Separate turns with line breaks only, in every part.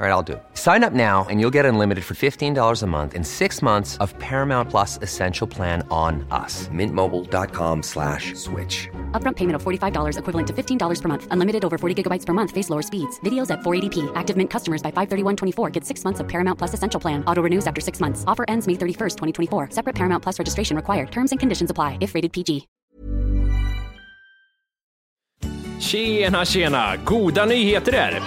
All right, I'll do it. Sign up now and you'll get unlimited for $15 a month and six months of Paramount Plus Essential Plan on us. Mintmobile.com slash switch.
Upfront payment of $45 equivalent to $15 per month. Unlimited over 40 gigabytes per month. Face lower speeds. Videos at 480p. Active Mint customers by 531.24 get six months of Paramount Plus Essential Plan. Auto renews after six months. Offer ends May 31st, 2024. Separate Paramount Plus registration required. Terms and conditions apply if rated PG.
Tjena, tjena! Goda nyheter där!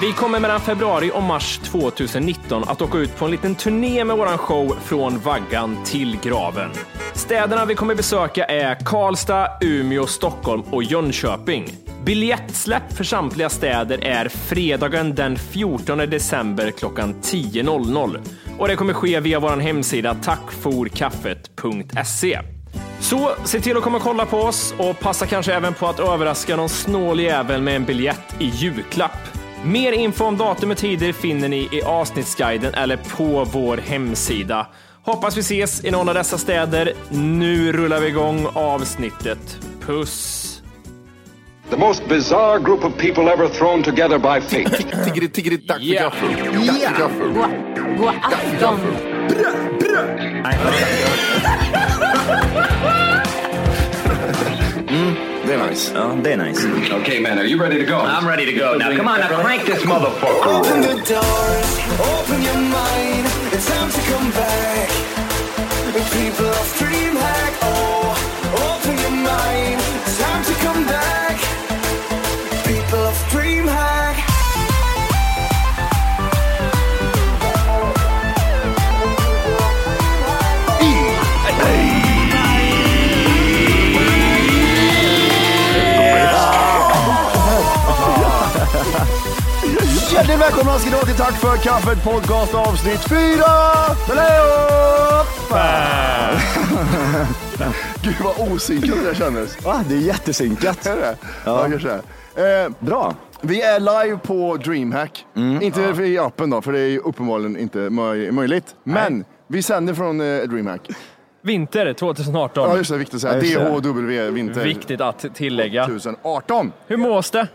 Vi kommer mellan februari och mars 2019 att åka ut på en liten turné med våran show Från vaggan till graven. Städerna vi kommer besöka är Karlstad, Umeå, Stockholm och Jönköping. Biljettsläpp för samtliga städer är fredagen den 14 december klockan 10.00 och det kommer ske via vår hemsida tackforkaffet.se. Så se till att komma och kolla på oss och passa kanske även på att överraska någon snål jävel med en biljett i julklapp. Mer info om datum och tider finner ni i avsnittsguiden eller på vår hemsida. Hoppas vi ses i någon av dessa städer. Nu rullar vi igång avsnittet. Puss!
The most bizarre group of people ever thrown together by fate.
Tiggeri, tiggeri, dack för
Yeah.
gaffel. Dack för gaffel.
God, god afton!
Det är nice.
Ja, det är nice.
okay, man, are you ready to go?
I'm ready to go. Now, come on, now crank this motherfucker.
Open the doors, open your mind. It's time to come back. The people of DreamHack, oh, open your mind. It's time to come back. People of DreamHack.
Hjärtligt välkomna ska ni vara till Tack för kaffet podcast avsnitt 4! Eller Gud vad osynkat det där kändes.
Va? Det är jättesynkat.
Är det? Ja.
Ja.
Jag gör så här. Eh,
Bra. Mm.
vi är live på DreamHack. inte i appen då, för det är ju uppenbarligen inte möj- möjligt. Men vi sänder från eh, DreamHack.
Vinter 2018.
Ja just det, viktigt att säga.
Ja, just det.
DHW Vinter
Viktigt att tillägga.
2018.
Hur mås det?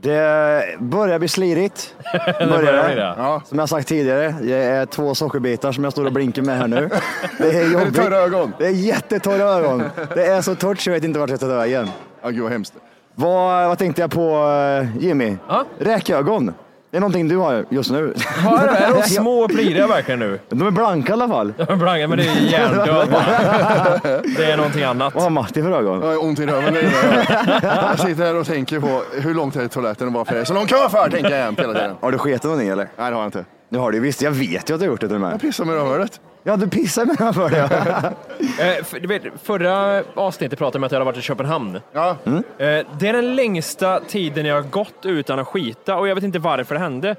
Det börjar bli slirigt.
börjar bli det.
Ja.
Som jag sagt tidigare, det är två sockerbitar som jag står och blinkar med här nu. Det är jobbigt.
torra ögon?
Det är jättetorra ögon. Det är så torrt så jag vet inte vart jag ska ta vägen.
Ja, gud vad hemskt.
Vad, vad tänkte jag på eh, Jimmy?
Ja.
Räkögon. Det är någonting du har just nu.
Har- Är de små och pliriga verkligen nu?
De är blanka i alla fall.
Brange, men det är hjärndöd bara. Det är någonting annat.
Vad har Matti för ögon?
Jag har ont i röven. det är det. Jag sitter här och tänker på hur långt är det till toaletten och varför är det så lång kö för? Tänker jag jämt hela tiden.
Har du sketit någonting eller?
Nej, det har jag inte.
Du har det ju visst. Jag vet ju att du har gjort det till och
Jag
med.
pissar med rövhålet.
Ja, du pissar med mig för det.
Eh, för, du vet, förra avsnittet pratade jag om att jag hade varit i Köpenhamn.
Ja.
Eh, det är den längsta tiden jag har gått utan att skita och jag vet inte varför det hände.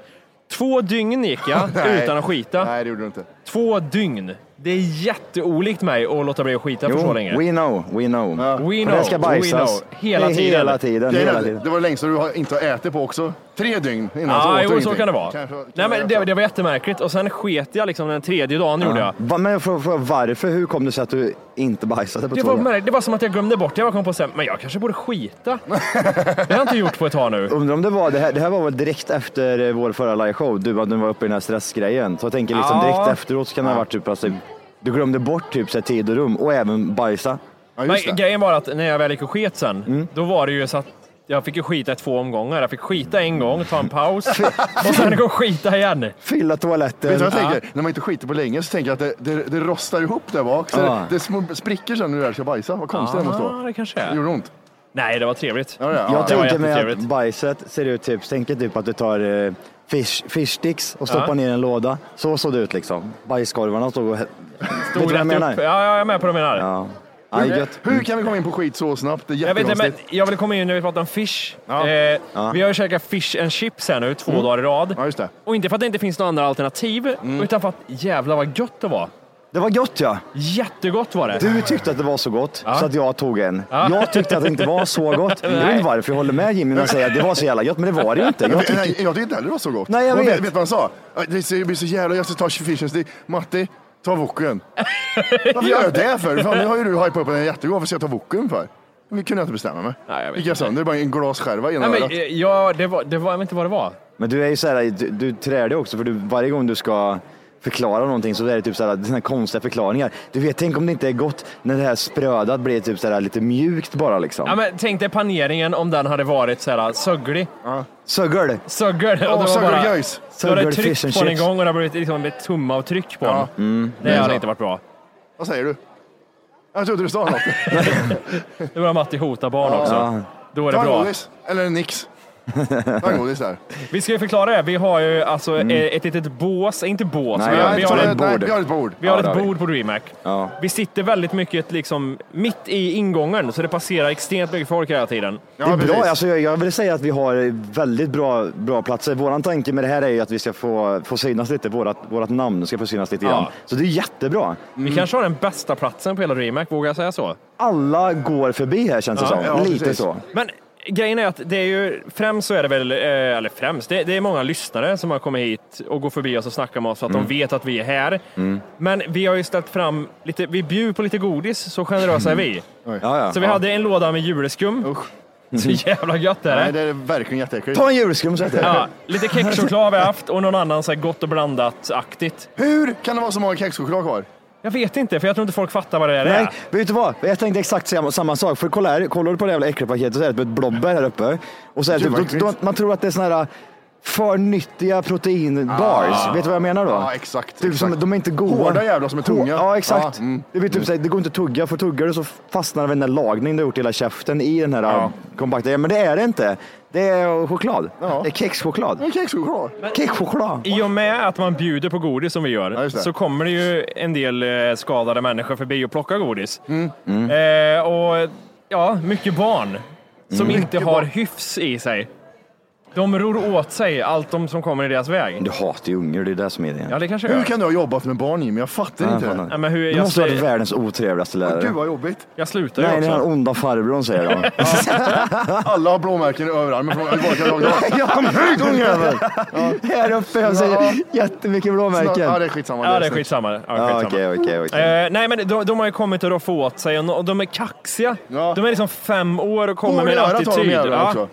Två dygn gick jag
Nej.
utan att skita.
Nej, det gjorde du inte.
Två dygn. Det är jätteolikt mig att låta bli att skita för så länge.
we know, we know.
Ja.
We
För det ska bajsas.
we know. Hela
Det är
tiden.
Hela tiden,
Det,
hela
är,
tiden.
det var det längsta du har- inte har ätit på också. Tre dygn innan så
Ja,
åt du
jo, så
ingenting.
kan det vara.
Kanske- kanske
Nej, men det,
därför.
det var jättemärkligt och sen sket jag liksom den tredje dagen. Gjorde jag.
Va- Men jag får fråga varför, hur kom det sig att du inte bajsade på
Det var,
två dagar?
märkligt. det var som att jag glömde bort det. Jag bara kom på sen, men jag kanske borde skita. det har jag inte gjort på ett tag
Oh,
nu.
Undrar om det var, det här, det här var väl direkt efter eh, vår förra liveshow, du att du var uppe i den här stressgrejen. Så jag tänker liksom
Ja.
direkt efteråt så kan det ha varit typ, alltså, du glömde bort typ så här, tid och rum och även bajsa.
Ja,
Men
just det. Mm.
grejen var att när jag väl gick och sket sen, då var det ju så att jag fick ju skita i två omgångar. Jag fick skita en gång, ta en paus och sen gå och skita igen.
Fylla
Vet du
toaletten.
vad jag tänker? När man inte skiter på länge så tänker jag att det, det, det rostar ihop där bak. Så
Ja.
det, det små spricker sen när du väl ska bajsa. Vad konstigt det måste
Ah,
vara.
det kanske
Det
är.
gjorde ont.
Nej, det var trevligt.
Ja, det- ja,
Jag
det var
tänker mig att
jättetrevligt.
bajset ser ut typ, tänker typ att du tar eh, fish, fish sticks och stoppa ner i en låda. Så såg det ut liksom. Bajskorvarna stod och... Vet du
Stod
vad jag
rätt
menar?
upp. Ja, ja, jag är med på vad du menar.
Ja. Aj, gött.
Hur kan vi komma in på skit så snabbt? Det är
Jag, vet inte, men
jättekonstigt.
jag vill komma in när vi pratar om fish.
Ja. Mm.
Eh, Vi har ju käkat fish and chips här nu två dagar i rad.
Ja, Mm. just det.
Och inte för att det inte finns några andra alternativ, utan för att jävlar vad gött det var.
Det var gött ja.
Jättegott var det.
Du tyckte att det var så gott så att jag tog en. Jag tyckte att det inte var så gott. Jag vet inte varför jag håller med Jimmy när han säger att det var så jävla gott, men det var det ju inte. Jag
Jag,
tyckte...
nej, jag tyckte inte heller det var så gott.
Nej, jag
Men
vet.
vet vad han sa? Det ser- det blir så jävla... Jag ska ta fishen stick. Matti, ta woken. Varför gör jag det för? Fan, nu har ju du hypat upp den jättegod. Varför ska jag ta woken för? Men Det kunde jag inte bestämma mig.
Nej, jag vet
Gick jag
inte.
sönder? Det är bara en glasskärva
Nej,
genom
men,
örat.
eh, ja, det var, det var, jag vet inte vad det var.
Men du är ju så här, du, du trär dig också för du, varje gång du ska förklara någonting så är det typ så här, den här konstiga förklaringar. Du vet, tänk om det inte är gott när det här sprödat blir typ så här lite mjukt bara liksom.
Ja, men, tänk dig paneringen om den hade varit så här sögglig.
Sögel!
Söggel. och
Åh,
det var
söggel
bara-
göjs.
Då har det
Söggel fish
tryckt
and
på den en
chips.
gång och det har blivit liksom ett tumavtryck på
Ja.
den. Mm. Det hade inte varit bra.
Vad säger du? Jag trodde du sa något.
Nu börjar Matti hota barn också. Då är det
Ta en
bra.
godis. Eller en nix. Ta en godis där.
Vi ska ju förklara det. Vi har ju alltså eh, ett litet bås, inte bås,
Mm. Nej,
vi har,
Nej,
vi
ta
har,
ett
ett,
en- nej,
bord.
Vi har ett bord.
vi har
Ja, det har
ett
vi.
bord på DreamHack.
Ja.
Vi sitter väldigt mycket liksom mitt i ingången, så det passerar extremt mycket folk hela tiden.
Ja,
det är
precis.
bra, alltså, jag, jag vill säga att vi har väldigt bra, bra platser. Våran tanke med det här är ju att vi ska få, få synas lite, vårat, vårat namn ska få synas lite
Ja.
grann. Så det är jättebra.
Vi kanske har den bästa platsen på hela DreamHack, vågar jag säga så?
Alla går förbi här känns det som.
ja,
lite
precis.
så.
Men grejen är att det är ju, främst så är det väl, eh, eller främst, det, det är många lyssnare som har kommit hit och går förbi oss och snackar med oss för att de vet att vi är här. Men vi har ju ställt fram lite, vi bjuder på lite godis, så generösa är vi.
Ja, ja.
Så vi hade en låda med juleskum.
Usch.
Så jävla gött är
Nej,
det.
det är verkligen jätteäckligt.
Ta en julskum så heter det.
Ja, lite kexchoklad har vi haft och någon annan så här gott och blandat-aktigt.
Hur kan det vara så många kexchoklad kvar?
Jag vet inte, för jag tror inte folk fattar vad det är.
Nej, vet du vad? Jag tänkte exakt samma, samma sak. För kolla här, kollar du på det jävla äckliga paketet så är det typ ett blobber här uppe. Och så är det
Gud, vad
typ, då, då,
äckligt.
man tror att det är såna här för nyttiga proteinbars. Vet du vad jag menar då?
Ah. Ja, exakt,
Typ som,
exakt.
de är inte goda.
Hårda jävlar som är tunga.
Hår- Ja, exakt.
Ja, mm.
det, blir typ, så här, det går inte att tugga, för tuggar du så fastnar den där lagningen du har gjort i hela käften i den här kompakta. Ja, men det är det inte. Det är choklad.
Ja.
Det är kexchoklad.
En kexchoklad.
Kexchoklad.
I och med att man bjuder på godis som vi gör
Ja, just det.
så kommer det ju en del eh, skadade människor förbi och plockar godis. Eh, och ja, mycket barn som inte har hyfs i sig. De ror åt sig allt de som kommer i deras väg.
Du hatar ju ungar, det är det som är grejen.
Ja, det kanske jag
Hur
gör.
kan du ha jobbat med barn Jimmy? Jag fattar
Ja,
inte
fan.
det.
Ja, men hur,
Du
jag,
måste ha varit
sl-
världens otrevligaste lärare.
Gud vad jobbigt.
jag slutar ju
Nej, det är den
också.
onda farbrorn säger jag.
Alla har blåmärken i överarmen från olika dag.
ja,
Ungjävel!
här uppe jag säger
Ja.
jättemycket blåmärken.
Ja, det är skitsamma.
Ja, det är
snyggt.
skitsamma. Ja,
Ja,
skitsamma.
Okej, okej, okej.
Eh, nej, men de, de har ju kommit att roffa åt sig och, och de är kaxiga.
Ja.
De är liksom fem år och kommer
Hår i
med en
örat har de
attityd.
jävlarna
Ja.
också.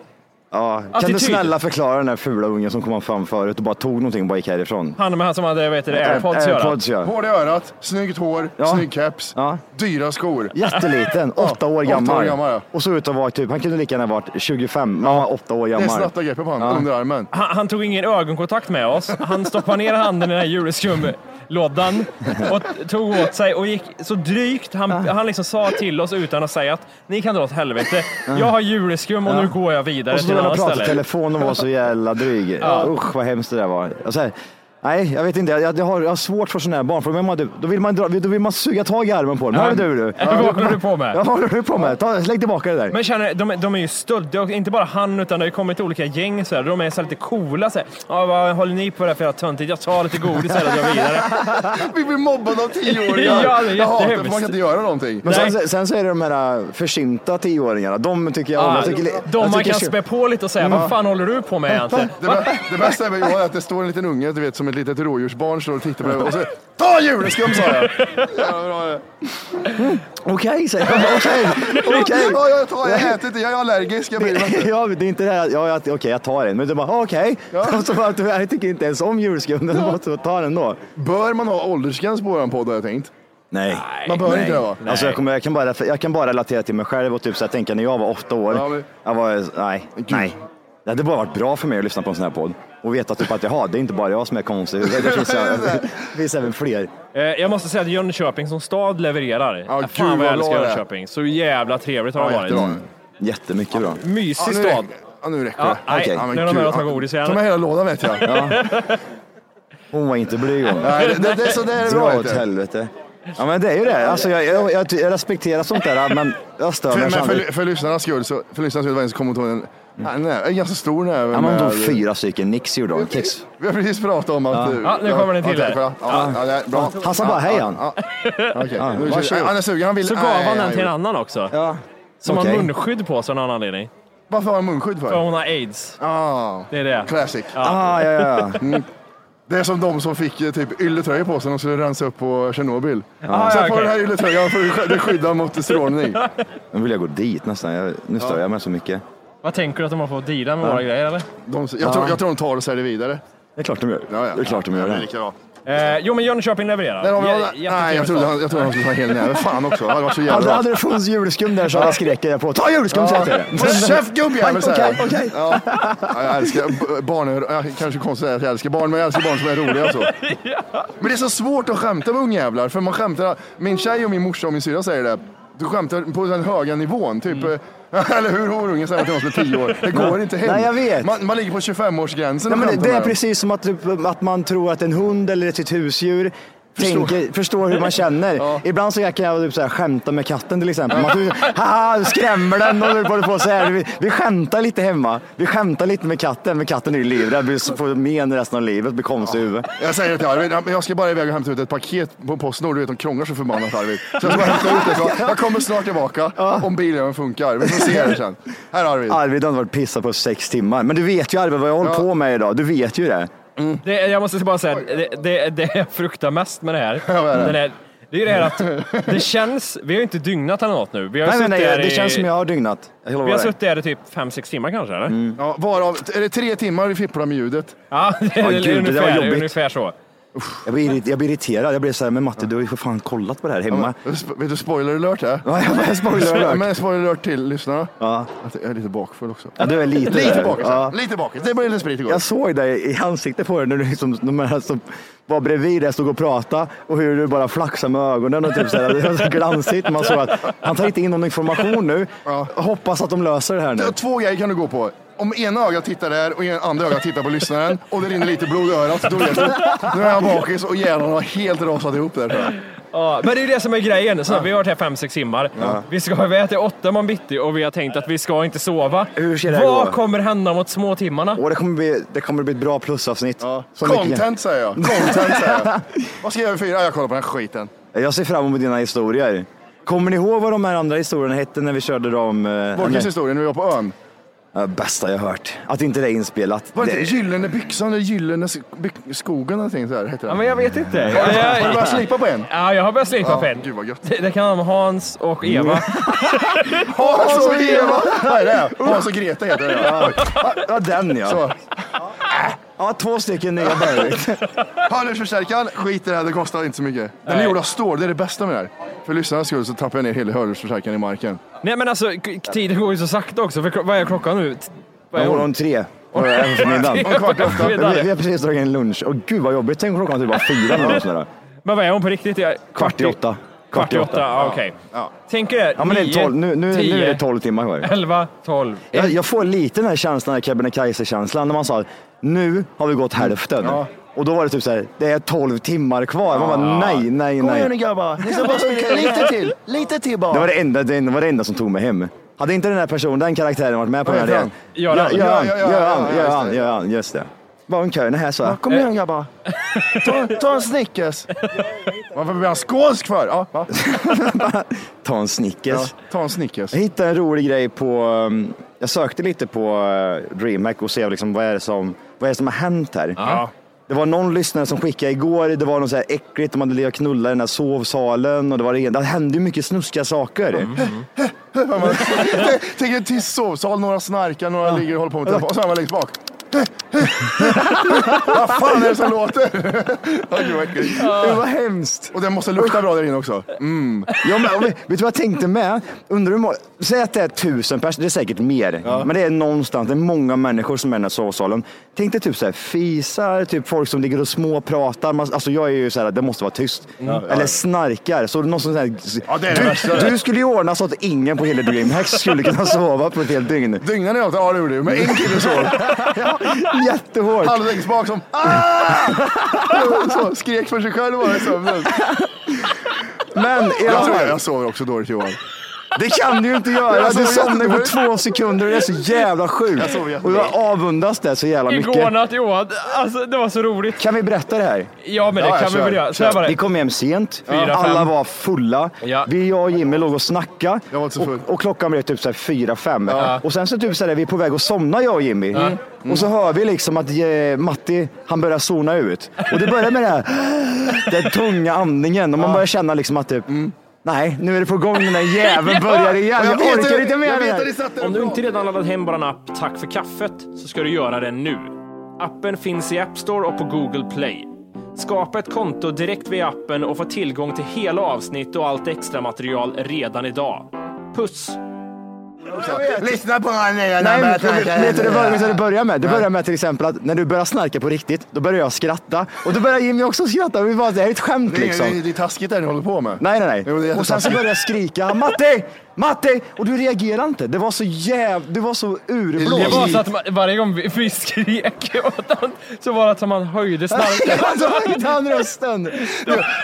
Ja, Kan du
Attityd.
snälla förklara den där fula ungen som kom fram förut och bara tog någonting och bara gick härifrån?
Han med han som hade vet du, det, airpods, airpods.
Airpods ja.
Hår i örat, snyggt hår,
Ja.
snygg keps,
Ja.
dyra skor.
Jätteliten,
Ja,
åtta år
åtta
gammal.
år gammal, ja.
Och såg ut att vara typ, han kunde lika gärna varit 25, men han var åtta år
Det är
gammal.
snatta greppet på honom, under armen.
Han, han tog ingen ögonkontakt med oss. Han stoppade ner handen i den här juleskumlådan och t- tog åt sig och gick så drygt. Han,
Ah.
han liksom sa till oss utan att säga att ni kan dra åt helvete. Jag har juleskum och nu går jag vidare
Ah. Och så
till ett
stod han och
annat
pratade i
ställe.
telefon och var så jävla dryg. Usch vad hemskt det där var. Och så här, nej, jag vet inte. Jag, jag, har, jag har svårt för sådana här barn. För då vill man, då vill man, dra, då vill man suga tag i armen på dem. Hör du du?
Vad håller du på
Ja,
med?
vad håller du på med? Ta, släng tillbaka det där.
Men känner, de, de är ju stöddiga, och inte bara han utan det har ju kommit olika gäng så här. De är så här lite coola så här. Ja, vad håller ni på det här för jävla töntigt? Jag tar lite godis här och drar vidare.
Vi blir mobbade av tioåringar.
Ja, det är
jag hatar det, för
jättehemskt.
man kan inte göra någonting.
Men
Nej.
sen, sen så är det de här försinta tioåringarna. De tycker jag...
Ja,
jag tycker,
Ah, de
jag
man
tycker- Mm.
kan spä på lite och säga, vad fan håller du på med egentligen?
Det, bä- det bästa med Johan är att det står en liten unge, du vet, som ett litet rådjursbarn, står och tittar på det och så Ta juleskum sa jag! Ja, bra det.
Okej, säger jag. Okej, okej.
Ja, jag tar, jag äter inte, jag är allergisk. Jag blir inte.
Ja, men det är inte det här, ja, jag- okej jag tar en, men du bara okej. Och så bara, tyvärr, jag tycker inte ens om julskum, men du måste ta den då.
Bör man ha åldersgräns på våran podd har jag tänkt?
Nej.
Man bör inte det va?
Alltså, jag, kommer, jag, kan bara, jag kan bara relatera till mig själv och typ så här, tänka när jag var åtta år.
Ja, men-
Jag var, nej, nej. Det hade bara varit bra för mig att lyssna på en sån här podd och veta typ att jaha, det är inte bara jag som är konstig. Det finns, det finns även fler.
Eh, Jag måste säga att Jönköping som stad levererar.
Ja,
Ja,
gud,
Fan vad jag
vad
älskar
bra det är.
Jönköping. Så jävla trevligt har
Ja,
det varit.
jättebra.
Jättemycket bra.
Mysig
nu-
stad.
Ja, nu räcker
Ja,
det.
nej,
Okej. Ja, men
nu är de
gud.
här att ha godis igen.
Ta med hela lådan vet jag.
Hon var inte blyg hon.
Nej, det- det- det- så det är det bra,
Dra
vet
åt
du.
helvete. Ja men det är ju det. Alltså, jag, jag, jag, jag respekterar sånt där men jag stör
För,
mig
men för,
samtidigt.
för lyssnarnas skull, så, för lyssnarnas skull var det en som kom och tog en, ja, nej, en ganska stor näve.
Ja, men
med-
de fyra stycken nicks gjorde de. Kex.
Vi har precis pratat om att...
Ja.
Ja, nu kommer den till
ja,
här.
tack för det. Ja, ja, det är bra.
Han sa bara,
Ja,
"Hej,
ja,
han."
ja. Okej,
Ja,
nu kör vi.
varsågod.
Han är sugen, han vill...
Så gav
Nej,
han den till en
gjorde-
annan också.
Ja.
Som har
okej.
munskydd på sig av någon anledning.
Varför har han munskydd
För
för?
hon har aids.
Ah,
Det är det.
classic.
Ah, ja, ja, ja.
Det är som de som fick eh, typ ylletröjor på sig när de skulle rensa upp på Tjernobyl.
Ah,
Så
ja,
på
okej.
den här ylletröjan får du sk- du skydda mot strålning.
Nu vill jag gå dit nästan. Jag, nu stör jag mig så mycket.
Vad tänker du att de har fått dela med våra grejer eller?
De, jag, tror, jag tror de tar och säljer vidare.
Det är klart de gör.
Ja, ja.
Det är klart de gör
Ja, det är
det.
lika bra.
Eh, jo men Jönköping levererar.
Där har vi-
Jä- jättetrevlig
Nej, jag trodde,
stad.
han, jag trodde han skulle ta en hel näve. Fan också, det hade varit så jävla
Hade,
bra.
hade det funnits julskum där så hade jag skrek jag på. Ta julskum säger jag till
Håll käft gubbjävel! säger jag.
Okej, okej.
Ja. Ja, jag älskar b- barn, jag kanske konstigt att jag älskar barn, men jag älskar barn som är roliga och så. Men det är så svårt att skämta med ungjävlar, för man skämtar, min tjej och min morsa och min syrra säger det, du skämtar på den höga nivån, typ
Mm.
eh, eller hur horungen säger till någon som är 10 år. Det går inte hem.
Nej, jag vet.
Man, man ligger på 25-årsgränsen
Nej,
och
men det,
skämtar
det är
med dem.
precis som att, typ, att man tror att en hund eller ett sitt husdjur
Förstår.
Tänker, förstår hur man känner.
Ja.
Ibland så kan jag typ så här, skämta med katten till exempel. Man typ, Haha, du skrämmer den och du håller på så här. Vi, vi skämtar lite hemma. Vi skämtar lite med katten, men katten är ju livrädd. Blir- Får men resten av livet, blir konstig i huvudet.
Jag säger det till Arvid, jag ska bara iväg och hämta ut ett paket på Postnord, du vet de krånglar så förbannat Arvid. Så jag ska bara hämta ut det, Så jag kommer snart tillbaka om bilen funkar. Vi får se det sen. Här Arvid.
Arvid har inte varit pissad på sex timmar. Men du vet ju Arvid vad jag håller på med idag. Du vet ju det.
Det, jag måste bara säga, det, det, det jag fruktar mest med det här,
vad är det?
Den här- det är ju det här att det känns, vi har ju inte dygnat eller något nu. Vi har
Nej, men
suttit
nej,
här
det
i,
känns som jag har dygnat. Jag lovar
Vi har
dig.
suttit här i typ 5-6 timmar kanske eller?
Ja, varav, är det tre timmar vi fipplar med ljudet?
Ja, det, är
gud, det där var
ungefär,
jobbigt.
ungefär så.
Jag blir, irrit- jag blir irriterad. Jag blir så här, men Matte du har ju för fan kollat på det här hemma.
Sp- Vet du spoiler alert är?
Mm. Ja, jag bara spoilar alert.
Men spoiler alert till lyssnarna.
Ja.
Att jag är lite bakfull också.
Ja, du är lite
Lite
där.
bakis,
Ja.
lite bakis. Det blev lite sprit igår.
Jag såg dig i ansiktet på dig när du liksom, de här som var bredvid dig stod och pratade och hur du bara flaxade med ögonen och typ så här, det var så glansigt. Man såg att han tar inte in någon information nu.
Ja.
Hoppas att de löser det här nu.
T- Två grejer kan du gå på. Om ena ögat tittar där och en- andra ögat tittar på lyssnaren och det rinner lite blod i örat, då vet du. Nu är jag bakis och hjärnan har helt rasat ihop där. tror jag.
Ja, men det är ju det som är grejen. Så Vi har varit här 5-6 timmar. Vi ska iväg till 8 man bitti och vi har tänkt att vi ska inte sova.
Hur ska det här
Vad
gå?
kommer hända mot små timmarna?
Och det kommer bli, det kommer bli ett bra plusavsnitt. Så mycket-
Content säger jag. Content säger jag. Vad ska jag göra för fyra? Jag kollar på den här skiten.
Jag ser fram emot dina historier. Kommer ni ihåg vad de här andra historierna hette när vi körde dem? eh,
Borkes
eller-
historia när vi var på ön.
Ja, Bästa jag hört. Att inte det är inspelat.
Var det inte
Det-
Gyllene byxan eller Gyllene sk- byx- skogen någonting så här hette
Ja,
den.
men jag vet inte.
Har du
Jag,
börjat slipa på en?
ja, jag har börjat slipa
Ja,
på en.
gud vad gött.
Det, det kan handla om Hans och
Mm.
Eva.
Hans och Eva! Vad är det? Hans och Greta heter det. Ja.
Ja, den ja.
Så.
Ja, två stycken nya Bergvik.
Hörlursförstärkaren, skit i det här, det kostar inte så mycket. Den är
Nej.
gjord av stål, det är det bästa med det här. För lyssnarnas skull så tappar jag ner hela hörlursförstärkaren i marken.
Nej men alltså, k- tiden går ju så sakta också. För, vad är klockan nu? T- Vad är
Ja,
hon?
Om tre. eh, På eftermiddagen.
Om kvart efter.
Vi, vi har precis dragit en lunch. Och gud vad jobbigt. Tänk om klockan typ var fyra eller något sånt där.
Men vad är hon på riktigt? Jag-
Kvart i åtta.
Kvart i åtta, ja, okej.
Ja.
Tänk er
Ja, men det är tolv. Nu, nu, nu är det tolv timmar kvar.
11, 12.
Jag, jag får lite den här känslan, den här Kebnekaise-känslan, när man sa nu har vi gått hälften. Och då var det typ så här, det är tolv timmar kvar. Man bara nej, nej, nej.
grabbar, ni ska bara spela lite till. Lite till bara.
Det var det enda, det enda- var det enda som tog mig hem. Hade inte den här personen, den karaktären varit med på
Vad
den här
heter
idén.
han?
Göran, Göran,
Ja, ja, ja, ja,
Göran,
ja, just
Göran,
det.
Göran, just det. Bara en kö, den här så här.
kom igen grabbar. Ta, ta en Snickers. Varför blir han skånsk för? Ja, va?
Ta en Snickers.
Ta en Snickers.
Jag hittade en rolig grej på, um, jag sökte lite på uh, DreamHack och se liksom, vad, är det som, vad är det som har hänt här. Det var någon lyssnare som skickade igår, det var något så här äckligt, de hade legat och knullat i den här sovsalen och det, var det, ena- det hände ju mycket snuskiga saker.
Tänk en tyst sovsal, några snarkar, några ligger och håller på med telefon. Och så är man längst bak. Vad fan är det som låter? Ja, gud, vad äckligt.
Det var hemskt.
Och den måste lukta bra där inne också. Mm.
Ja, men, vet du vad jag tänkte med? Undrar hur många, säg att det är tusen personer, det är säkert mer. Men det är någonstans, det är många människor som är i den här sovsalen. Tänk dig typ så här, fisar, typ folk som ligger och småpratar. Man, alltså jag är ju så här, det måste vara tyst. Eller snarkar. Så någon som så här,
Ja, det är det värsta, det.
du, du skulle ju ordna så att ingen på hela DreamHack skulle kunna sova på ett helt dygn.
Dygnade jag åt? Ja, det gjorde du. Men en kille sov.
Ja, jättehårt.
Halvvägs bak som "Ah!" så, skrek för sig själv bara i sömnen.
Men i alla
Jag tror
fall.
jag sover också dåligt Johan.
Det kan du ju inte göra.
Jag
Du
såg
somnar på
jättedåligt.
två sekunder och det är så jävla
Jag
sjukt.
såg
Och
jättedåligt.
jag avundas det så jävla
Igår
mycket.
natt Johan, alltså det var så roligt.
Kan vi berätta det här?
Ja men det
Ja, jag
kan vi
kör,
väl göra. Så
kör.
här var
Vi
det.
kom hem sent,
Fyra,
alla
fem.
var fulla.
Ja.
Vi, jag och Jimmy låg och snackade
Jag var inte så full.
och, och klockan blev typ så här fyra, fem. Och sen så typ så här, vi är på väg att somna jag och Jimmy. Och så hör vi liksom att eh, Matti, han börjar zona ut. Och det börjar med det här, den tunga andningen och man börjar känna liksom att typ, nej, nu är det på gång, den där jäveln börjar igen.
Mm. Och
Jag,
vet
orkar
hur-
inte mer
Jag
det
vet
här."
att ni
Om
satte den
du
bra.
inte redan laddat hem bara en app Tack för kaffet så ska du göra det nu. Appen finns i App Store och på Google Play. Skapa ett konto direkt via appen och få tillgång till hela avsnitt och allt extra material redan idag. Puss!
Lyssna på den nya
Nej, men, vet du det börjar- vet du det börjar med? Det börjar med till exempel att när du börjar snarka på riktigt, då börjar jag skratta. Och då börjar Jimmy också skratta. Vi bara, det här är ett skämt
Det
liksom.
är, det är taskigt det ni håller på med.
Nej, nej,
Jo, det
nej.
är
Och sen så började jag skrika Matti! Matti! Och du reagerar inte. Det var så jäv... Det var så urblåst.
Det var så
att varje gång vi skrek åt honom så var det som han höjde
Så höjde han rösten.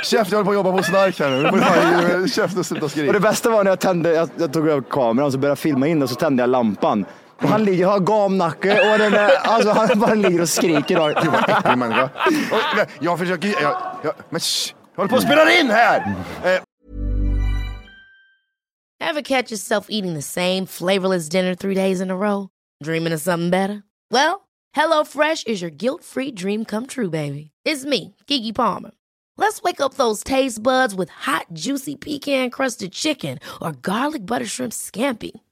Käft, jag håller på att jobba på snark här nu. Nu får du fan ge- Käft och sluta
Och det
skrika.
bästa var när jag tände, jag, jag tog över kameran och så började jag filma in och så tände jag lampan. Och han ligger, har gamnacke och den där, alltså han bara ligger och skriker. rakt-
Gud vad äcklig människa. Och, men, Jag försöker... Jag, jag, men shh! Jag håller på att spela in här! Eh,
Ever catch yourself eating the same flavorless dinner three days in a row? Dreaming of something better? Well, HelloFresh is your guilt free dream come true, baby. It's me, Kiki Palmer. Let's wake up those taste buds with hot, juicy pecan crusted chicken or garlic butter shrimp scampi.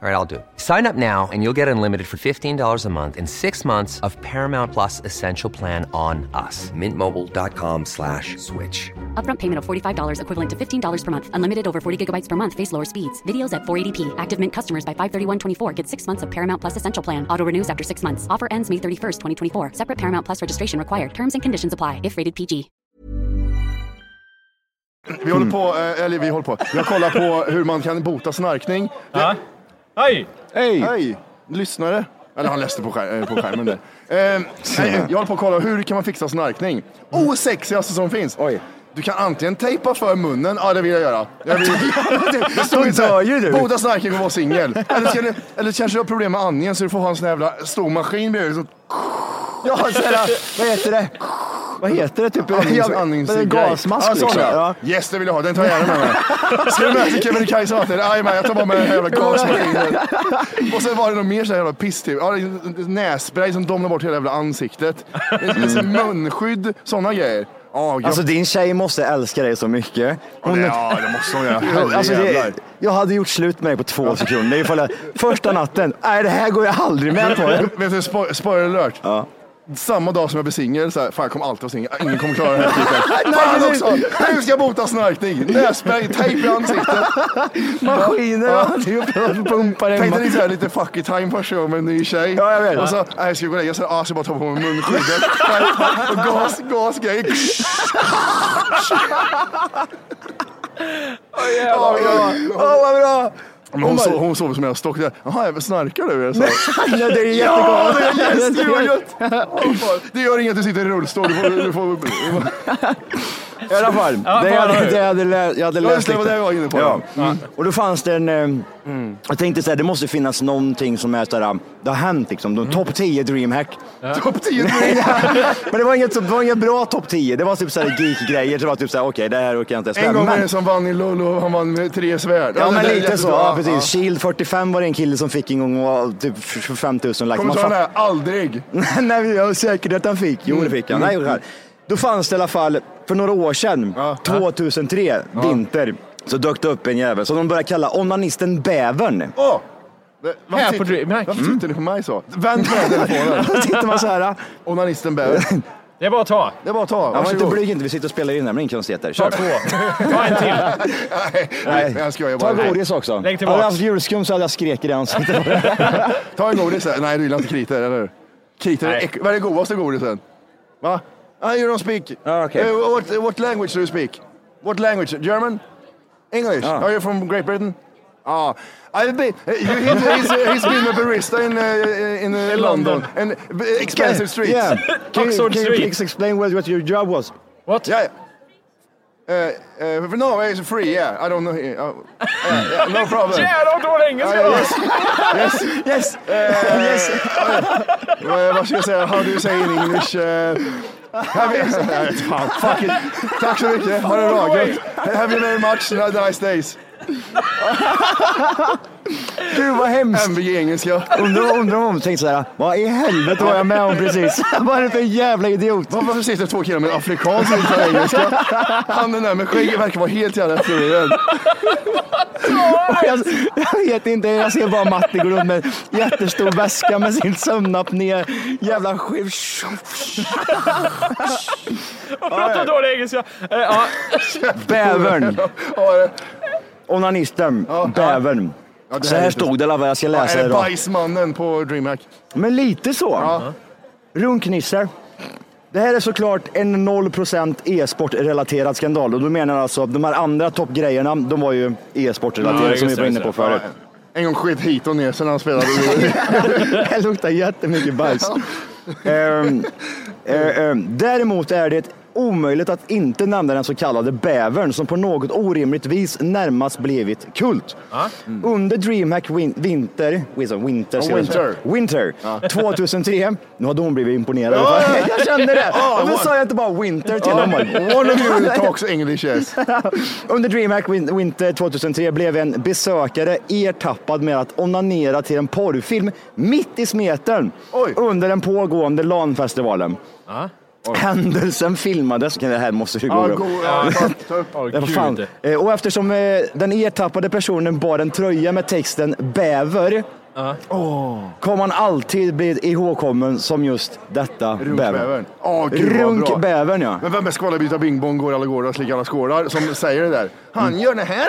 All right, I'll do. it. Sign up now and you'll get unlimited for $15 a month and six months of Paramount Plus Essential Plan on us. Mintmobile.com slash switch.
Upfront payment of $45 equivalent to $15 per month. Unlimited over 40 gigabytes per month. Face lower speeds. Videos at 480p. Active Mint customers by 531.24 get six months of Paramount Plus Essential Plan. Auto renews after six months. Offer ends May 31st, 2024. Separate Paramount Plus registration required. Terms and conditions apply if rated PG.
Vi håller på, eh, eller vi håller på. Jag kollar på hur man kan bota snarkning.
Hej!
Hej!
Hej, lyssnare. Eller han läste på, skär, eh, på skärmen där. Eh, nej, jag håller på att kolla, hur kan man fixa snarkning? Osexigaste som finns. Oj. Du kan antingen tejpa för munnen, ja det vill jag göra. Jag vill, det
Då
inte så här,
dör ju typ, du.
Bota snarkning och vara singel. Eller, ska du- eller kanske du har problem med andningen så du får ha en sån här jävla stor maskin bredvid. Så,
Ja, så här, vad heter det? Vad heter det? Typ
andnings,
Ja,
andningsgrej.
en gasmask
ja, sån,
liksom.
Ja.
Ja.
Yes, det vill jag ha. Den tar jag gärna med mig. Ska du med till Kebnekaise och allt det? Jajamän, jag tar bara med den här jävla gasmaskinen. Och sen var det något mer så här jävla piss typ. Ja, det är en- en nässpray som domnar bort hela jävla ansiktet. Mm. Munskydd, sådana grejer. Ja, jag...
Alltså din tjej måste älska dig så mycket. Hon,
ja, det måste hon göra.
alltså,
Herrejävlar.
det, jag hade gjort slut med dig på två sekunder ifall jag, första natten, nej det här går jag aldrig med på.
Vet du, spo- spoiler alert. Samma dag som jag blir singel, så här, fan jag kommer alltid vara singel, ingen kommer klara den här typen. fan
precis.
också! Hur ska jag bota snarkning? Nässpray, tejp i ansiktet.
Maskiner och alltihop pumpar en.
typ. Tänkte ni såhär lite fuck it time första gången med en ny tjej?
Ja, jag vet.
Och så, nej jag ska gå och lägga mig, jag ska bara ta på mig munskyddet. och gas, gasgrejer. Ja, men-
Åh vad bra!
men Hon, sov, hon sover som en stock. där. Jaha, jag snarkar du? eller Så.
Nej, det är jättegott.
det är yes, gud vad gött! Åh, fan. Det gör inget att du sitter i rullstol. Du får, du får, du får.
I alla fall,
Ja,
det jag
bara
hade,
nu.
det jag hade, lä- jag hade
Ja,
läst
just det,
lite.
vad det var jag inne på.
Ja.
Ja. Mm.
Mm. Och då fanns det en, eh, jag tänkte så här, det måste finnas någonting som är sådär, det har hänt liksom, de
Mm.
topp 10 DreamHack.
Topp 10 dreamhack.
Men det var inget, så- det var inget bra topp 10, det var typ såhär geek-grejer, så det var typ såhär, okej det här orkar jag inte ens
En
med.
gång var
Men-
det som vann i LOL och han vann med tre svärd.
Ja, men
det är
lite så.
jättebra.
Ja, precis. Shield 45 var det en kille som fick en gång och var typ 25 000 likes. Man
Kommentaren
fatt-
är aldrig.
Nej, Nej, jag är säker att han fick. Jo,
Mm.
det fick han. Nej, så här. Då fanns det i alla fall, för några år sedan, 2003, vinter, så dök det upp en jävel som de började kalla onanisten Bävern.
Åh! Det- varför
Här på Mm.
tittar-
DreamHack.
Varför tittar ni på mig så? Vänd på den telefonen.
Då sitter man så här.
Onanisten bär.
Det är bara att ta.
Det är bara att ta.
Ja, var inte
Varsågod.
blyg inte, vi sitter och spelar in nämligen konstigheter. Kör.
Ta en till.
Alltså.
Nej, jag skojar
Ta
bara.
godis också. Hade
Lägg
jag
tillbaka.
haft julskum så hade jag skrek i det ansiktet.
Ta en godis. här. Nej, du gillar inte kritor, eller hur? Kritor är äck- Vad är det godaste godisen? Va? Ah, you don't speak.
Ah, okay.
Eh, what, what language do you speak? What language? German? English?
Ah.
Are you from Great Britain? Ah, I've been. eh, you- he's, he's, he's been a barista in uh, in, uh, London. and eh, expensive streets.
Yeah. Can you,
Oxford
can you
Street.
please explain what, what your job was?
What?
Yeah. Uh, uh, no, it's free. Yeah, I don't know. Uh, yeah, yeah, no problem.
Jävlar vad dålig engelska det var.
Yes.
Yes! yes.
Eh, vad ska jag säga? How do you say in English? Eh, have you, Nej, fan, fuck it. Tack så mycket. Ha det bra. Gött. Have you very much. Have nice days.
Gud vad hemskt!
MVG engelska.
Undrar undrar om de tänkte såhär, vad i helvete var jag med om precis? Vad är det för jävla idiot?
Var- Varför sitter två killar med afrikansk och inte engelska? Han den där med skägg verkar vara helt jävla fluid.
Jag, jag vet inte, jag ser bara Matti gå runt med en jättestor väska med sin sömnapné. Jävla skiv...
Prata dålig engelska. Eh, ja.
Bävern.
Ja, det-
Onanisten. Bävern.
Ja, det
Så
här är
här
lite-
stod det i alla fall, jag ska
ja,
läsa
är
det
det
då.
bajsmannen på DreamHack?
Men lite så.
Ja.
Runknisse. Det här är såklart en 0% e-sportrelaterad skandal och då menar jag alltså de här andra toppgrejerna, de var ju e-sportrelaterade
Ja,
som vi
just
var
det,
inne på
just
förut.
En gång skit hit och ner sen han spelade.
Det luktar jättemycket bajs. Ehm, eh, ehm, däremot är det omöjligt att inte nämna den så kallade bävern som på något orimligt vis närmast blivit kult. Mm. Under DreamHack win- Winter, Winter, winter, ska jag säga.
Winter.
winter 2003, nu hade hon blivit imponerad. jag kände det.
Ja,
Och då
what-
sa jag inte bara Winter till honom.
One of you talks English yes.
Under DreamHack Win- Winter 2003 blev en besökare ertappad med att onanera till en porrfilm mitt i smeten
Oj.
under den pågående LAN-festivalen. Händelsen filmades. Okej, Det här måste ju gå
Ja,
bra.
go, ja, ta- ta upp.
Åh,
Ja, vad fan.
gud.
Eh, Och eftersom eh, den ertappade personen bar en tröja med texten bäver kom han alltid bli ihågkommen som just detta bäver.
Runkbävern. Åh, gud, vad bra.
Runkbävern ja.
Men vem är skvallerbyta bingbong, går alla gårdar, slickar alla skålar som säger det där? Han gör det här! då.
ja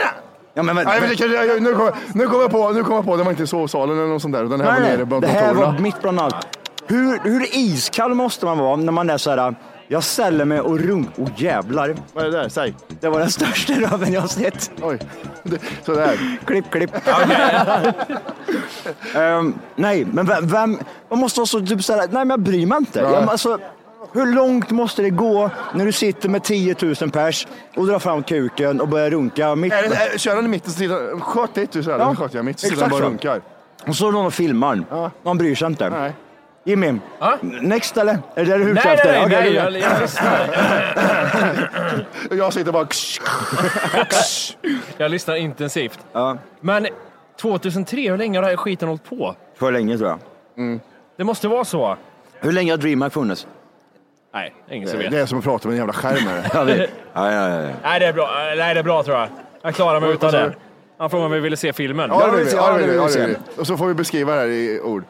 Mm. men,
Nej, men det kanske- jag- nu kom, nu kom jag på, nu kom jag på, det var inte i sovsalen eller något sånt där, utan det här var nere bland
det här var
kontorerna.
mitt bland allt. Hur, hur iskall måste man vara när man är så här, jag ställer mig och runk... Åh jävlar.
Vad är det där? Säg.
Det var den största röven jag har sett.
Oj. Det- Sådär.
Klipp, klipp. Ehm, nej, men vem, vem... Man måste vara så typ så här, nej men jag bryr mig inte.
Nej.
Jag, alltså, hur långt måste det gå när du sitter med 10 000 pers och drar fram kuken och börjar runka mitt
Är det, är, kör han i mitten så tittar han, sköt dit du sådär,
Ja,
ja. sköt jag mitt, så sitter
exakt
han bara
så.
runkar.
Och så är det någon och filmar.
Ja.
Man bryr sig inte.
Nej.
Jimmy, next eller? Är det det du är
Nej,
ute
nej,
efter?
nej.
Okej,
nej
det är
jag, jag, lyssnar,
Och Jag sitter bara,
Alltså,
jag lyssnar intensivt.
Ja.
Men 2003, hur länge har den här skiten hållit på?
För länge tror jag.
Det måste vara så.
Hur länge har DreamHack funnits?
Nej, ingen som vet.
det är som att prata med en jävla skärm här.
Ja, vi... ja, ja, ja, ja.
Nej, det är bra. Nej, det är bra tror jag. Jag klarar mig utan
vad sa
det. Han frågade om vi ville se filmen.
Ja, det vill
vi
vi,
ser,
ja,
ja,
det vill vi,
det
ja,
vill
det
vi
vill vi. Och så får vi beskriva det här i ord.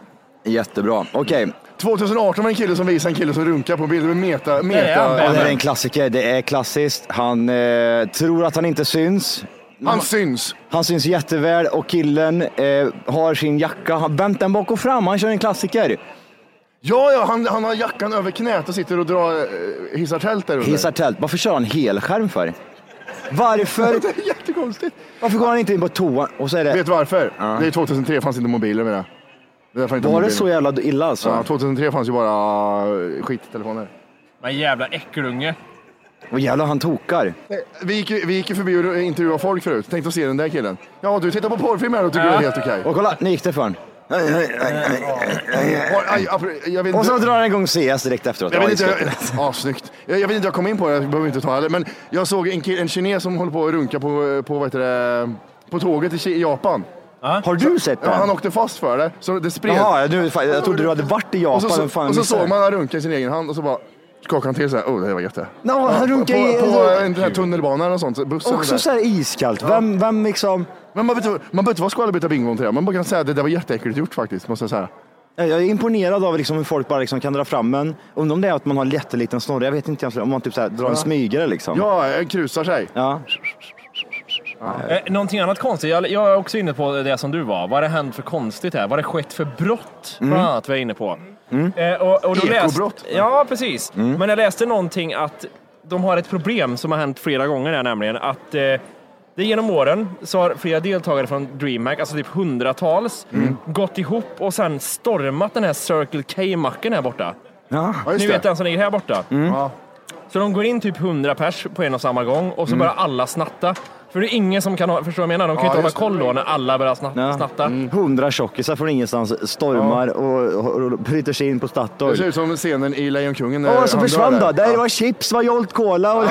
Jättebra. Okej,
2018 var det en kille som visade en kille som runkar på bild med meta...
han,
ja,
meta
Ben.
det är en klassiker. Det är klassiskt. Han eh, tror att han inte syns.
han syns.
Han syns jätteväl och killen eh, har sin jacka. Han vänt den bak och fram. Han kör en klassiker.
Ja, ja, han, han har jackan över knät och sitter och drar, eh, hissar tält där under.
Hissar tält. Varför kör han helskärm för? Varför?
Det är jättekonstigt.
Varför går han inte in på toan? Och så är det...
Vet du varför? Det är 2003, fanns inte mobiler med det. det är därför inte
Var det
mobiler.
så jävla illa alltså?
Ja, 2003 fanns ju bara eh, skittelefoner.
Men jävla äckelunge.
Vad jävlar han tokar.
Vi gick, ju- vi gick ju förbi och intervjuade folk förut. Tänkte se den där killen. Ja, du tittar på porrfilm här och tycker det är helt okej.
Och kolla, nu gick det för honom.
Oj, aj, apro- jag vet
Och så
inte-
drar han igång CS direkt efteråt.
Jag
Ja,
vet
just
inte,
det.
ja, snyggt. Jag, jag vet inte, jag kom in på det, jag behöver inte ta heller. Men jag såg en, ki- en kines som håller på att runka på, på, vad heter det, på tåget i Ki- Japan.
Har du sett
Ja,
den?
han åkte fast för det, så det spred.
Jaha, nu, fan, jag trodde du hade varit i Japan.
och så, så,
men fan,
och så
missade.
såg man han runka i sin egen hand och så bara skakade han till så här. Oh, det här var gött det.
No, han runkar
på,
i-
på,
så-
en sån här tunnelbana eller något sånt. Bussen
Också så här iskallt. Vem, vem liksom...
Men man behöver man behöver inte vara skvallerbytta bingon till det. Man bara kan säga att det där var jätteäckligt gjort faktiskt. Måste jag säga.
Jag är imponerad av liksom hur folk bara liksom kan dra fram en. Undrar om det är att man har en jätteliten snorre. Jag vet inte ens om man typ så här drar en smygare liksom.
Ja, en krusar sig.
Ja.
Eh, någonting annat konstigt, jag, jag är också inne på det som du var. Vad har det hänt för konstigt här? Vad har det skett för brott? Bland annat vi är inne på. Eh, och, och då
Ekobrott.
Läst, ja, precis. Men jag läste någonting att de har ett problem som har hänt flera gånger här nämligen. Att eh, det genom åren så har flera deltagare från DreamHack, alltså typ hundratals, gått ihop och sen stormat den här Circle K-macken här borta.
Ja,
Ni vet den som ligger här borta.
Mm.
Ja.
Så de går in typ 100 pers på en och samma gång och så börjar alla snatta. För det är ingen som kan ha, förstår vad jag menar? De kan ju
Mm. Ja,
inte hålla
just
koll då när alla börjar snatta.
Ja. Mm.
snatta.
Hundra tjockisar från ingenstans stormar och, och, och bryter sig in på
Det ser
Statoil.
ut som scenen i Lejonkungen. när
Åh, så
han dör
försvann
där.
då. Där var chips, var Jolt Cola och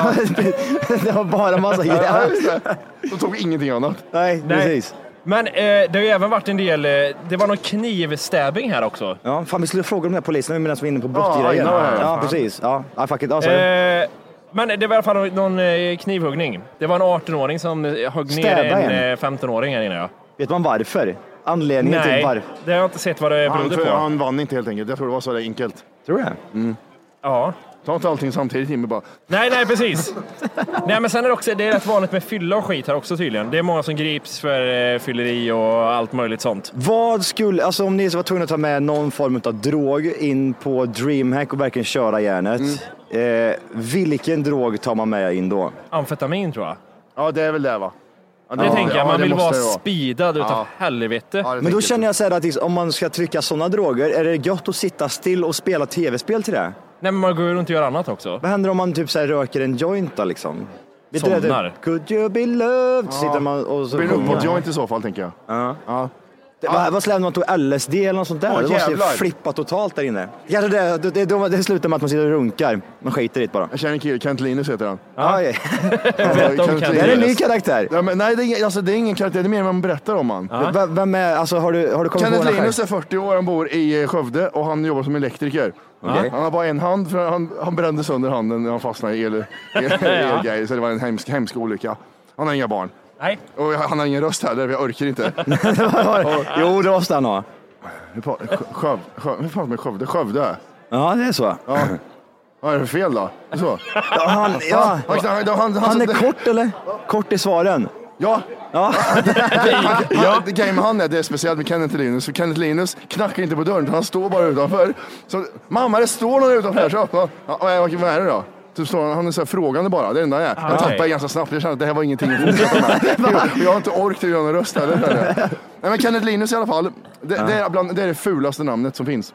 det var bara massa
Ja,
grejer.
just det. De tog ingenting annat.
Nej,
Nej.
precis.
Men eh, det har ju även varit en del, eh, det var någon knivstäbbing här också.
Ja, fan vi skulle fråga de där poliserna medan vi är inne på
Ja,
brottgrejen.
I know,
Ja,
ja, fan.
precis. Ja, ja, fuck it. Alltså, Ja, sorry.
Eh, men det var i alla fall någon eh, knivhuggning. Det var en 18-åring som eh, högg ner
Stäbbade
en
en.
eh, 15-åring här inne. Ja.
Vet man varför? Anledningen till
Nej,
varför?
det har jag inte sett vad det
Han,
berodde på.
han vann inte helt enkelt. Jag tror det var så där enkelt.
Tror du det?
Ja.
Ta inte allting samtidigt Jimmy bara.
Nej, nej, precis. nej, men sen är det också, det är rätt vanligt med fylla och skit här också tydligen. Det är många som grips för eh, fylleri och allt möjligt sånt.
Vad skulle, alltså om ni var tvungna att ta med någon form av drog in på DreamHack och verkligen köra järnet. Eh, vilken drog tar man med in då?
Amfetamin tror jag.
Ja, det är väl det va? Ja,
Det tänker jag,
ja,
man
det
vill
måste
vara
det
speedad utav
Ja.
helvete.
Ja, det
Men då
tänker
känner jag så här att liksom, om man ska trycka sådana droger, är det gött att sitta still och spela tv-spel till det?
Nej men man går ju runt och gör annat också.
Vad händer om man typ så här röker en joint då liksom? Vet du det?
Somnar.
Could you be loved? Sitter man och så
Blir det
sjunger.
uppåt joint i så fall tänker jag.
Ja.
Ja.
Det- Vad, vad släppte man tog LSD eller något sånt där?
Åh,
det måste ju
jävlar.
flippa totalt där inne. Ja, det, det, det, det, det slutar med att man sitter och runkar. Man skiter i det bara.
Jag känner en kille, Kent Linus heter han.
Ja. ja.
Berätta om
Kent
Kent
Det är en ny
Linus.
karaktär.
Ja, men, nej, det är, ingen- alltså, det är ingen karaktär, det är mer vad man berättar om han.
Ja.
V- Vem är, alltså har du, har du kommit på
Kenneth
den här
Linus
själv?
är 40 år, han bor i eh, Skövde och han jobbar som elektriker.
Okej.
Han har bara en hand, för han, han brände sönder handen när han fastnade i el, el, elgrejer, så det var en hemsk, hemsk olycka. Han har inga barn.
Nej.
Och han har ingen röst heller, för jag orkar inte.
Jo, det måste han ha.
Hur pa- Skö- Sköv- Skö- hur fan med Skövde? Skövde?
Ja, det är så.
Ja. Vad är det för fel då? Så.
Ja, han, ja.
Han, han, han,
han är kort eller? Kort i svaren.
Ja,
Ja.
ja. det grejen med han är, det är speciellt med Kenneth Linus, för Kenneth Linus knackar inte på dörren, utan han står bara utanför. Så, Mamma, det står någon utanför här, så öppnar han. ja, vad, är- vad är det då? Typ står han, han är så här frågande bara, det är den där jag är. Jag
Okej.
tappade ganska snabbt, jag kände att det här var ingenting att fortsätta med. Och Jag har inte ork till att göra någon röst heller. kände jag. Nej, men Kenneth Linus i alla fall, det, det, är bland, det är det fulaste namnet som finns.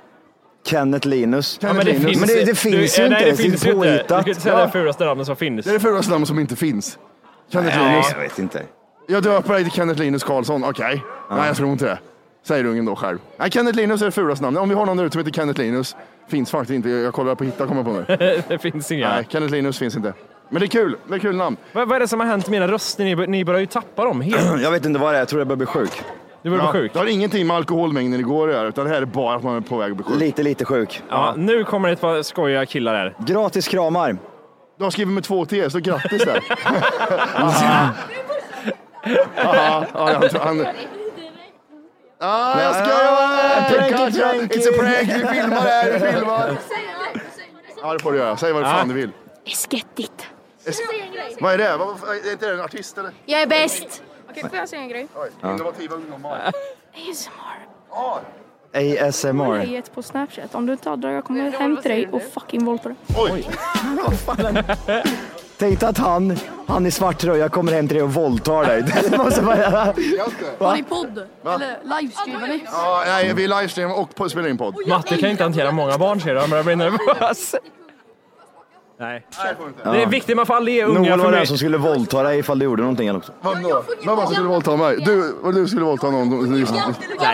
Kenneth Linus.
Ja, men det
men
finns-
det, det finns ju
eh,
inte.
Nej, det finns ju inte. Du kan
påhittat.
inte säga
Ja.
det fulaste namnet som finns.
Det är det fulaste namnet som inte finns. Kenneth
Nej,
Linus.
jag vet inte.
Jag döper dig till Kenneth Linus Karlsson, okej. Nej, jag tror inte det. Säger ungen då själv. Nej, Kenneth Linus är det fulaste namnet. Om vi har någon där ute som heter Kenneth Linus. Finns faktiskt inte. Jag kollar på Hitta kommer jag på nu.
det finns inga.
Nej, Kenneth Linus finns inte. Men det är kul. Det är kul namn.
Vad, vad är det som har hänt med mina röster? Ni, bör- ni börjar ju tappa dem helt.
Jag vet inte vad det är. Jag tror jag börjar bli sjuk.
Du börjar bli
Ja,
sjuk.
det har ingenting med alkoholmängden igår att göra, utan det här är bara att man är på väg att bli sjuk.
Lite, lite sjuk.
Ja, nu kommer det ett par skojiga killar här.
Gratis kramar.
Du har skrivit med två T, så grattis där. Aha. Ja, han, tror- han, Ah, jag skojar! It's a prank! Vi filmar det här, vi filmar! Ja, det får du göra. Säg vad fan du vill.
Skettigt.
Vad är det? Vad- Är inte det en artist eller?
Jag är bäst.
Oj, Innovativa ungdomar.
ASMR.
Läget på Snapchat. Om du inte har dragit jag kommer hem till dig och fucking våldta dig.
Oj!
Tänk dig att han, han i svart tröja kommer hem till dig och våldtar dig. Det måste vara...
Har ni podd? Eller livestreamar ni?
Ja, nej, vi livestreamar och på- spelar in podd.
Matte kan inte hantera många barn ser du. Han börjar bli nervös. Nej.
Ja.
Det är viktigt, man får aldrig ge unga
Noel
för
var den
mig.
som skulle våldta dig ifall du gjorde någonting. Eller också.
Han då? Vem var det som skulle våldta mig? Du, var det du som skulle våldta någon?
Nej,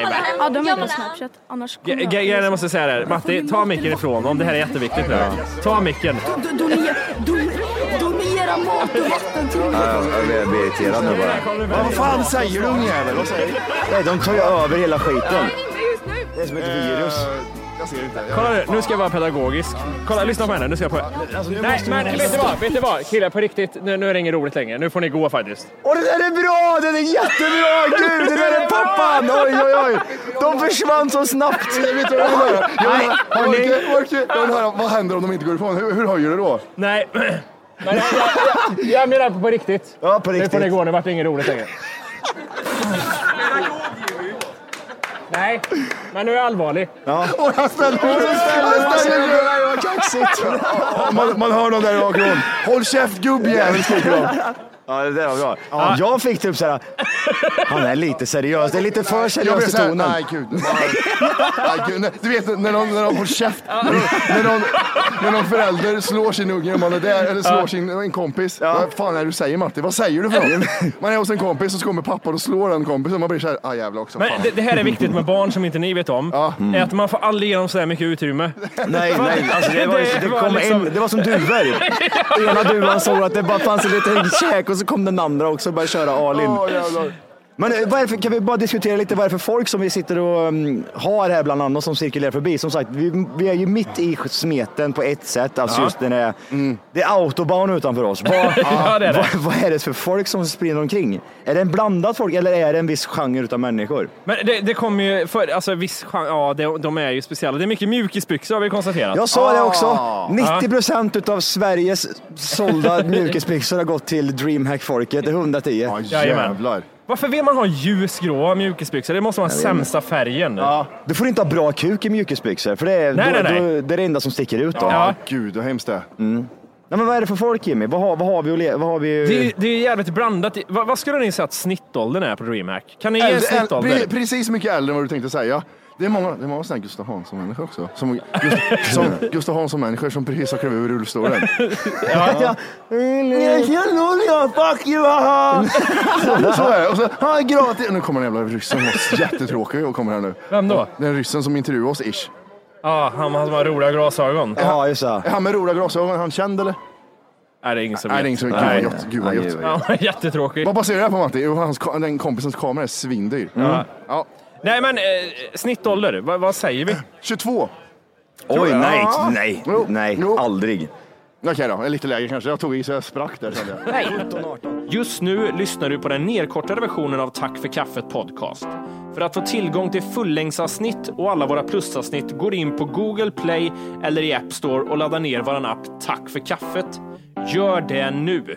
men. Ja, de är på Snapchat. Annars
Ge-
kommer
ge-
jag...
Grejen jag måste säga det här, Matti, ta micken ifrån om det här är jätteviktigt nu. Ta micken.
Do- Donera, donera, donera mat och vatten till
Ja, jag blir irriterad nu bara.
Vad fan säger du ungjävel? Vad säger du?
Nej, de tar ju över hela skiten. Det är som ett virus.
Jag ser inte.
Kolla nu, nu ska jag vara pedagogisk. Kolla, lyssna på henne. Nu ska jag på.
Alltså,
Nej, men vet du vad? Vet du vad? Killar, på riktigt, nu, nu är det inget roligt längre. Nu får ni gå faktiskt.
Och det där är bra! Den är jättebra! Gud, det där är pappan! Oj, oj, oj! De försvann så snabbt!
Jag vet inte vad jag vill höra. Jag vill höra, jag orkar, jag orkar. Jag vill höra vad händer om de inte går ifrån? Hur, hur höjer du då?
Nej. Men jag, jag, jag menar på riktigt.
Ja, på
Nu får ni
riktigt.
gå, nu vart det inget roligt längre. Nej, men nu är jag allvarlig.
Och jag ställer jag ställer mig!
Vad kaxigt!
Man, man hör någon där bakifrån. Håll käft gubbjävel, skriker de.
Ja, det där var bra. Ja, jag fick typ såhär, han är lite seriös. Det är lite för
Jag blir
seriöst i
såhär,
tonen.
nej gud. nej, nej, gud, nej. Du vet när någon, när någon får käft. När någon, när, någon, när någon förälder slår sin unge om man är där, eller slår sin en kompis. Vad fan är det du säger Matti? Vad säger du för något? Man är hos en kompis och så kommer pappa och slår den kompisen och man blir såhär, ah jävlar också.
Men
Fan.
det, det här är viktigt med barn som inte ni vet om. Är att man får aldrig ge dem så här mycket utrymme.
Nej, nej. Alltså, det, var,
Det
det,
var
kom
liksom-
en, det var som duvor. Ena duvan såg att det bara fanns en liten käk och så kom den andra också och började köra all in.
Åh, jävlar.
Men eh, varför, kan vi bara diskutera lite varför folk som vi sitter och mm, har här bland annat som cirkulerar förbi. Som sagt, vi, vi är ju mitt i smeten på ett sätt. Alltså
Ja. Mm.
just den här, det är autobahn utanför oss. Vad,
Ja, det är det.
Vad, vad är det för folk som springer omkring? Är det en blandad folk eller är det en viss genre utav människor?
Men det, det kommer ju, för, alltså viss chans, ja det, de är ju speciella. Det är mycket mjukisbyxor har vi konstaterat.
Jag sa det också.
Ah.
90 procent utav Sveriges sålda mjukisbyxor har gått till DreamHack-folket. Det är 110.
Ja,
Jajamän.
jävlar.
Varför vill man ha ljusgråa mjukisbyxor? Det måste vara den sämsta färgen.
Ja. Du får inte ha bra kuk i mjukisbyxor, för det är,
Nej,
då,
nej, nej.
Då, det är det enda som sticker ut. Då.
Ja.
Ja, gud vad hemskt det är.
Nej, men vad är det för folk Jimmy? Vad har, vad har vi? att le- Vad har vi...
Det är, det är jävligt blandat. Vad, vad skulle ni säga att snittåldern är på DreamHack? Kan ni ge en
Äldre, äldre,
snittålder?
pre- precis mycket äldre än vad du tänkte säga. Det är många, det är många sådana här Gustav Hansson-människor också. Som, Gust- som Gustav Hansson-människor som precis har klivit ur rullstolen.
ja. Fuck you!
Så är det. Och så, ah, gratis. Nu kommer den jävla ryssen. Han är jättetråkig och kommer här nu.
Vem då?
Den ryssen som intervjuade oss, ish.
Ja, han han som har roliga glasögon.
Ja, just det.
Är han med roliga glasögon, är han känd eller?
Nej, det är ingen som
Nej,
vet.
det är inget som... Gud vad
Nej.
gött. Gud vad gött.
Nej, gud, vad
Ja, jättetråkigt.
Vad baserar du det här på Matti? Jo, hans, ka- den kompisens kamera är svindyr. Mm.
Ja.
Ja.
Nej, men eh, snittålder. Vad, vad säger vi?
22.
Oj, nej,
Ja.
nej,
Jo,
nej,
jo.
aldrig.
Okej då, lite lägre kanske. Jag tog i så jag sprack där kände jag.
Just nu lyssnar du på den nedkortade versionen av Tack för kaffet podcast. För att få tillgång till fullängdsavsnitt och alla våra plusavsnitt går in på Google Play eller i App Store och laddar ner vår app Tack för kaffet. Gör det nu!